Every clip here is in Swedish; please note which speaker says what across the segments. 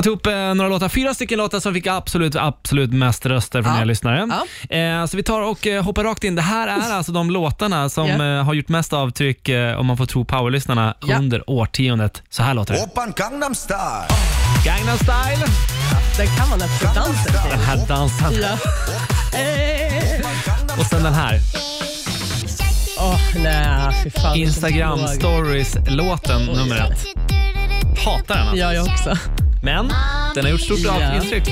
Speaker 1: Jag tog upp eh, några låtar, fyra stycken låtar som fick absolut, absolut mest röster från
Speaker 2: Ja.
Speaker 1: er lyssnare. Eh, så vi tar och eh, hoppar rakt in. Det här är alltså de låtarna som
Speaker 2: Ja.
Speaker 1: eh, har gjort mest avtryck, eh, om man får tro powerlyssnarna,
Speaker 2: Ja.
Speaker 1: under årtiondet. Så här låter det.
Speaker 3: Oppan Gangnam Style.
Speaker 1: Gangnam style.
Speaker 2: Den kan man absolut dansa till.
Speaker 1: Den här dansen.
Speaker 2: Ja. Eh.
Speaker 1: Och sen den här.
Speaker 2: Åh, nej, fy fan.
Speaker 1: Instagram
Speaker 2: vilken drog.
Speaker 1: stories-låten nummer ett. Hatar den alltså.
Speaker 2: Ja, jag också.
Speaker 1: Men den har gjort stort
Speaker 2: Ja.
Speaker 1: avtryck.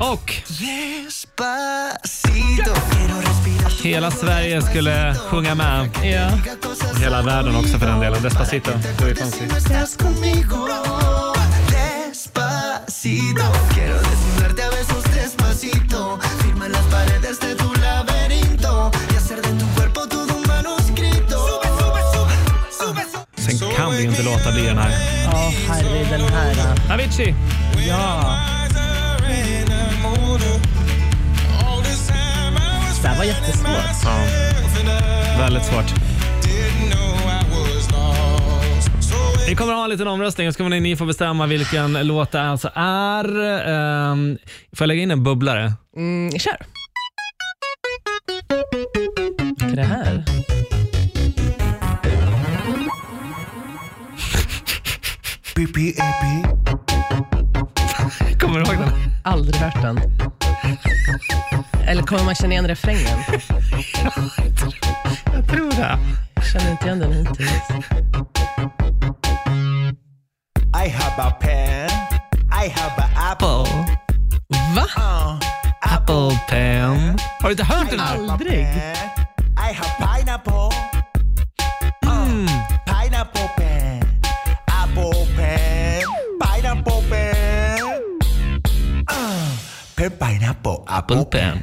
Speaker 1: Och hela Sverige skulle sjunga med.
Speaker 2: Ja.
Speaker 1: Hela världen också för den delen. Despacito. Louis Fonsi. Sen kan vi ju inte låta bli den här.
Speaker 2: Åh, herre, den här. ah.
Speaker 1: Avicii!
Speaker 2: Ja. Det här var jättesvårt.
Speaker 1: Ja. Väldigt svårt. Vi kommer att ha en liten omröstning. Ska ni, ni får bestämma vilken låt det alltså är. Ehm, får jag lägga in en bubblare?
Speaker 2: Mm, kör. Vad är det här?
Speaker 1: Kommer du ihåg den?
Speaker 2: Aldrig hört den. Eller kommer man känna igen refrängen?
Speaker 1: Jag tror det.
Speaker 2: Känner inte igen den hittills.
Speaker 4: I have a pen. I have an apple.
Speaker 1: Apple.
Speaker 2: Va?
Speaker 1: Apple pen. Har du inte hört den här?
Speaker 2: Aldrig?
Speaker 4: Pen. I have pineapple. Uh, pineapple pen. Apple pen. Pineapple pen. Uh, pen pineapple apple pen.
Speaker 1: Bullpen.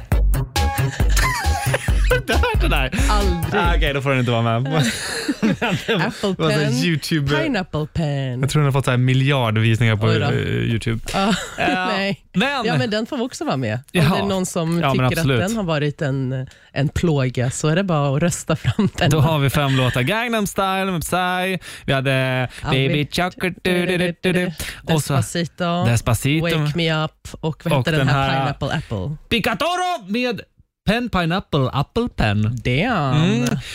Speaker 1: Har du inte hört den där?
Speaker 2: Aldrig.
Speaker 1: Ah, Okej, då får den inte vara med.
Speaker 2: Apple
Speaker 1: Vad säger
Speaker 2: pen.
Speaker 1: YouTube?
Speaker 2: Pineapple pen.
Speaker 1: Jag tror den har fått så här miljard visningar på
Speaker 2: Oj då.
Speaker 1: eh, Youtube.
Speaker 2: Ja,
Speaker 1: Ja,
Speaker 2: nej.
Speaker 1: men-
Speaker 2: ja, men den får också vara med. Om
Speaker 1: Jaha.
Speaker 2: det är någon som
Speaker 1: Ja, men
Speaker 2: tycker att
Speaker 1: absolut.
Speaker 2: den har varit en, en plåga så är det bara att rösta fram den.
Speaker 1: Då har vi fem låtar. Gangnam style med Psy. Vi hade Baby Chocolate. du, du, du, du, du. Och så
Speaker 2: Despacito,
Speaker 1: Despacito.
Speaker 2: Wake Me Up och vad
Speaker 1: Och
Speaker 2: hette den
Speaker 1: den
Speaker 2: här,
Speaker 1: här-
Speaker 2: Pineapple Apple?
Speaker 1: Picatoro med Pen Pineapple Apple Pen.
Speaker 2: Damn.
Speaker 1: Mm.